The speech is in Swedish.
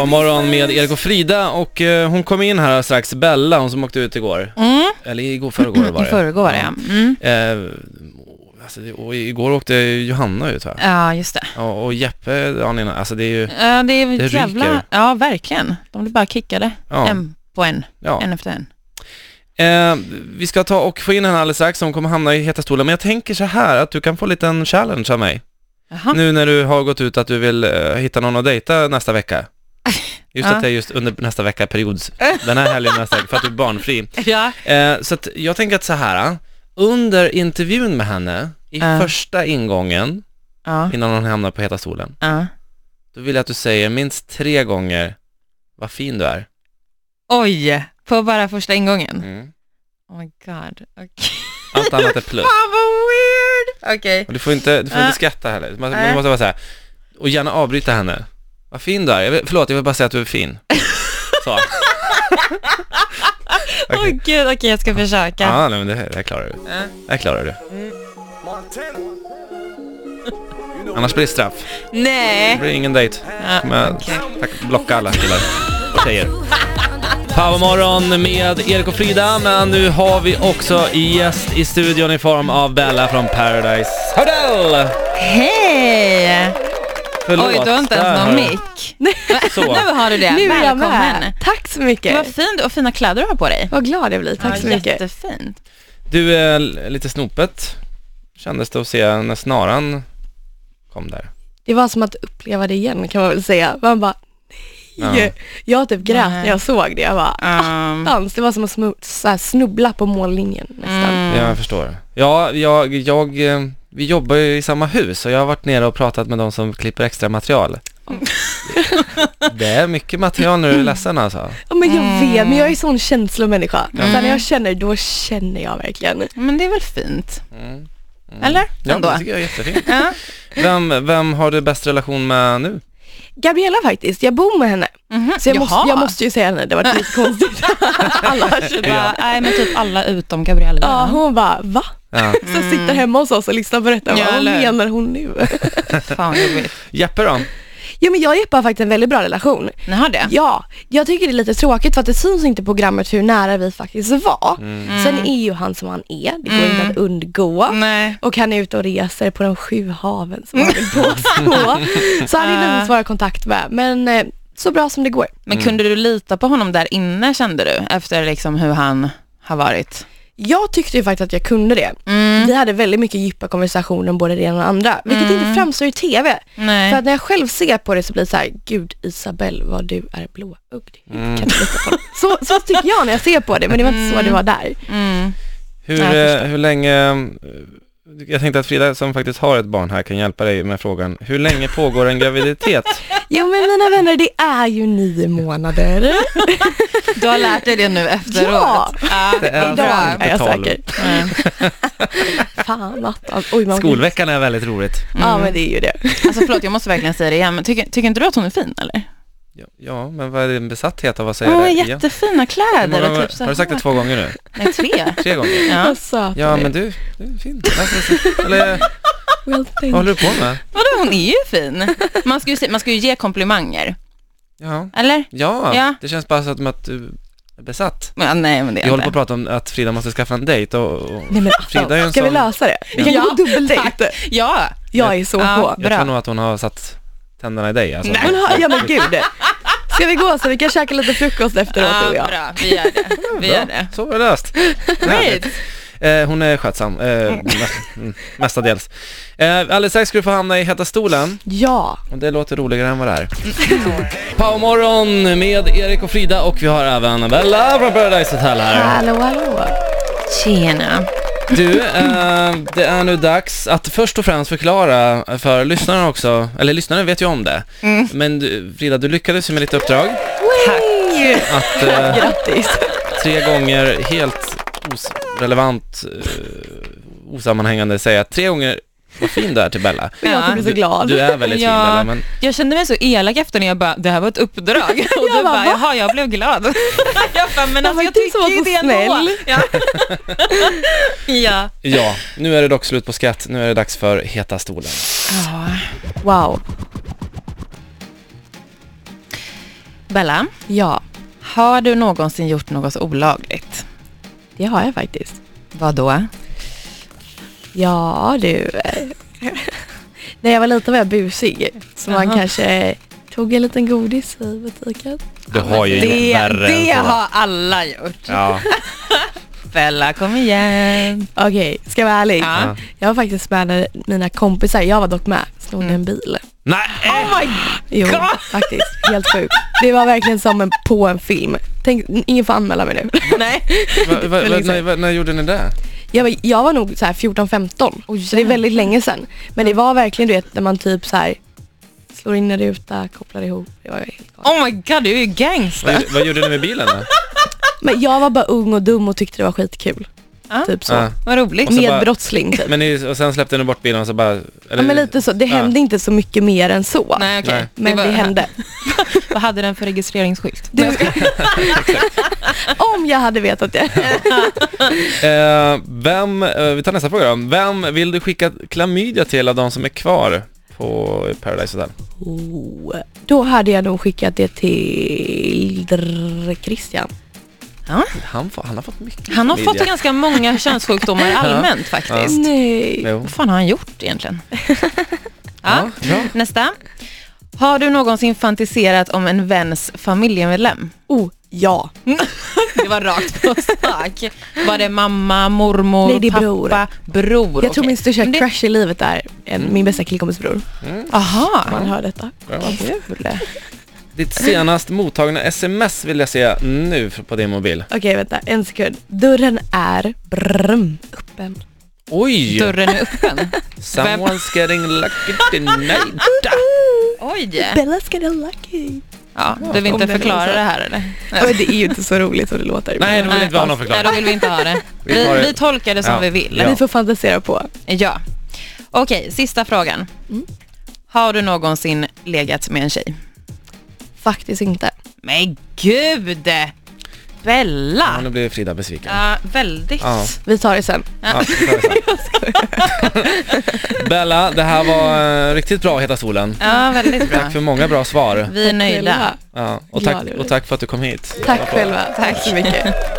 Powermorgon med Erik och Frida och eh, hon kom in här strax, Bella, hon som åkte ut igår. Mm. Eller igår, förrgår var I det. förrgår var det, ja. Mm. Eh, alltså, det- och igår åkte Johanna ut här. Ja, just det. Och, och Jeppe, dagen innan, alltså det är ju, Ja, det är Det ett jävla... ryker. Ja, verkligen. De blir bara kickade. ja. En på en, ja. en efter en. Eh, vi ska ta och få in henne alldeles strax, hon kommer hamna i heta stolen, men jag tänker så här att du kan få en liten challenge av mig. Jaha. Nu när du har gått ut att du vill eh, hitta någon att dejta nästa vecka. Just Ja. att det är just under nästa vecka periods, den här helgen nästa vecka, för att du är barnfri. Ja. Eh, så att jag tänker att så här, eh, under intervjun med henne, i Ja. första ingången, Ja. innan hon hamnar på heta stolen, ja. då vill jag att du säger minst tre gånger vad fin du är. Oj, på bara första ingången. Mm. Oh my god. Okej. Allt annat är plus. Fan vad weird! Okej. Och du får inte, du får Ja. inte skratta heller, man, man Nej. måste vara så här, och gärna avbryta henne. Vad fin du är, jag vill, förlåt jag vill bara säga att du är fin. Så. Åh Okej. gud, okej jag ska försöka. Ja, nej, men det, här- det här klarar du. Ja. Det här klarar du. Annars blir det straff. Det Nej. blir ingen dejt. Ja. Kommer jag tack, blocka alla killar och tjejer. Powermorgon med Erik och Frida, men nu har vi också gäst i studion i form av Bella från Paradise Hotel! Hej! Förlåt. Oj, du har inte ens där någon har du- mick. Nu har du det. Nu är jag Välkommen. med. Tack så Vad mycket. fint och fina kläder du har på dig. Vad glad jag blir. Tack så mycket. Jättefint. Du är l- lite snopet, kändes det att se när snaran kom där. Det var som att uppleva det igen kan man väl säga. Man bara, nej. Jag typ grät Nej. när jag såg det. Jag bara, Um, dans. Det var som att smu- så här snubbla på mållinjen nästan. Mm. Ja, jag förstår. Ja, jag, jag, eh, vi jobbar ju i samma hus och jag har varit nere och pratat med de som klipper extra material. Mm. Det är mycket material när du är ledsen alltså. Ja, men jag Mm. vet, men jag är sån känslomänniska. Så när jag känner, då känner jag verkligen. Men det är väl fint? Mm. Eller? Ja, men Ändå. det tycker jag är jättefint. Ja. Vem, vem har du bäst relation med nu? Gabriella faktiskt, jag bor med henne. Mhm, Så jag, måste, jaha. jag måste ju säga henne, det var lite konstigt. Annars. Du bara, Nej, men typ alla utom Gabriella. Ja, hon bara, va? Ja. Så jag sitter hemma hos oss och lyssnar på detta. Mm. Ja, Vad eller hur? menar hon nu? Fan vad jobbigt. Jeppe då? Jo, men jag och Jeppe har faktiskt en väldigt bra relation. Ni har det? Ja, jag tycker det är lite tråkigt för att det syns inte i programmet hur nära vi faktiskt var. Sen är ju han som han är, det går inte att undgå. Mm. Nej. Och han är ute och reser på de sju haven som han vill påstå. Så han är lite svår att ha kontakt med, men eh, så bra som det går. Men Mm. kunde du lita på honom där inne kände du? Efter liksom hur han har varit? Mm, Jag tyckte ju faktiskt att jag kunde det. Vi hade väldigt mycket djupa konversationer om både det ena och det andra, vilket inte framstår i TV. Nej. För att när jag själv ser på det så blir det så här, gud Isabel vad du är blåögd. Mm. Hur Kan du lita på det?" så, så tycker jag när jag ser på det, men det var inte så det var där. Mm. Hur, Ja, jag eh, hur länge, eh, jag tänkte att Frida som faktiskt har ett barn här kan hjälpa dig med frågan. Hur länge pågår en graviditet? Jo men mina vänner, det är ju nio månader. Du har lärt dig det nu efteråt? Ja. ja det är är bra. bra. är jag Betal. säker. Mm. Fan Nattan. Oj, man Skolveckan är väldigt roligt. Ja men det är ju det. Mm. Alltså förlåt, jag måste verkligen säga det igen, men tycker, tycker inte du att hon är fin eller? Ja, Ja, men vad är din besatthet av att säga Hon har det? igen? jättefina Hur många kläder och gånger- typ så har du sagt det här- två gånger nu? Nej, tre. Tre gånger? Ja. Vad söt Ja, du är. men du, du är fin. Eller, Well, vad thank håller du på med? Vadå, hon är ju fin. Man ska ju, se- man ska ju ge komplimanger, Ja, eller? ja, Ja. det känns bara som att du är besatt. Ja, nej, men det Vi är håller på inte. att prata om att Frida måste skaffa en dejt och, och Nej, men, alltså, Frida är en Ska vi sån- lösa det? Vi kan Ja, gå på dubbeldejt. tack. Ja, Jag är så Ja. på. Jag Bra. tror nog att hon har satt tänderna i dig alltså. Men, ha- ja men gud. Ska vi gå så vi kan käka lite frukost efteråt du ja och jag? bra. Vi gör det. Vi Bra, gör det. Så var det löst. Härligt. Great. Eh, hon är skötsam, eh, mest- mm, mestadels. Eh, alldeles strax ska du få hamna i heta stolen. Ja. Och det låter roligare än vad det är. Powermorgon med Erik och Frida och vi har även Bella från Paradise Hotel här. Hallå hallå. Tjena. Du, eh, det är nu dags att först och främst förklara för lyssnarna också, eller lyssnarna vet ju om det, men du, Frida du lyckades ju med ditt uppdrag Tack. att eh, Grattis. tre gånger helt os- relevant, eh, osammanhängande säga tre gånger vad fin du är till Bella. Jag som blir så Du, glad. du är väldigt fin Ja. Bella, men Jag kände mig så elak efter när jag bara, det här var ett uppdrag. Och du bara, bara, va? jaha, jag blev glad. jag bara, men Ja, alltså jag men du som tycker var ju så det ändå. snäll. Ja. ja. ja, nu är det dock slut på skratt, nu är det dags för Heta stolen. Wow. Bella, Ja, har du någonsin gjort något olagligt? det har jag faktiskt. Vad då? Ja, du. När jag var liten var jag busig. Så man Jaha. kanske tog en liten godis i butiken. Du har ju det, gjort värre det än så. har alla gjort. Ja. Bella, kom igen. Okej, ska jag vara ärlig? Ja. Jag var faktiskt med när mina kompisar, jag var dock med, snodde Mm. en bil. Nej! Oh my Jo, God. faktiskt. Helt sjukt. Det var verkligen som en, på en film. Tänk, ingen får anmäla mig nu. Nej. Va, va, va, när, va, när gjorde ni det? Jag var, jag var nog så här 14-15, så det är väldigt länge sedan. Men Mm. det var verkligen du vet när man typ så här slår in en ruta, kopplar ihop. Det var helt galet. Oh my god, du är ju Vad, gangster. gjorde- vad gjorde ni med bilen då? Men jag var bara ung och dum och tyckte det var skitkul. Ja. Typ så. Ja. Vad roligt. Och så bara- Medbrottsling typ. Men ni, och sen släppte ni bort bilen och så bara... Ja, eller- men lite så. Det Ja. hände inte så mycket mer än så. Nej, okej. Nej. Men det, var- hände. Vad hade den för registreringsskylt? Du, om jag hade vetat det. Eh, vem, eh, vi tar nästa fråga då. Vem vill du skicka klamydia till av de som är kvar på Paradise Hotel? Oh, Då hade jag nog skickat det till drr- Christian. Han, får, han har fått mycket Han har fått klamydia. ganska många könssjukdomar allmänt faktiskt. Nej. Jo. Vad fan har han gjort egentligen? ja. Ja, bra. Nästa. Har du någonsin fantiserat om en väns familjemedlem? Oh, ja. Det var rakt på sak. Var det mamma, mormor, Nej, det är pappa, bror. bror? Jag tror Okej. min största Men det- crush i livet är en, min bästa killkompis bror. Aha. Man hör detta. bra. Kul. Ditt senast mottagna sms vill jag se nu f- på din mobil. Okej, vänta. En sekund. Dörren är brrrm, öppen. Oj! Dörren är öppen. Someone's getting lucky tonight. Oj. Bella ska get lucky. Ja, du vill Om inte den är förklara så. det här eller? Men det är ju inte så roligt som det låter. Nej, det vill inte vara någon Nej, då förklaring. vill vi inte ha det. Vi tar Vi, det. vi tolkar det som Ja. vi vill. Ja. Ni får fantisera på. Ja. Okej, sista frågan. Mm. Har du någonsin legat med en tjej? Faktiskt inte. Men gud! Ja, Bella! nu blir Frida besviken. Ja, väldigt. Ja. Vi tar det sen. Ja, vi tar det sen. Bella, det här var eh, riktigt bra Heta Solen. Ja, väldigt bra. Tack för många bra svar. Vi är nöjda. Bella. Ja, och, Ja, tack, det var det. och tack för att du kom hit. Tack själva. Tack så mycket.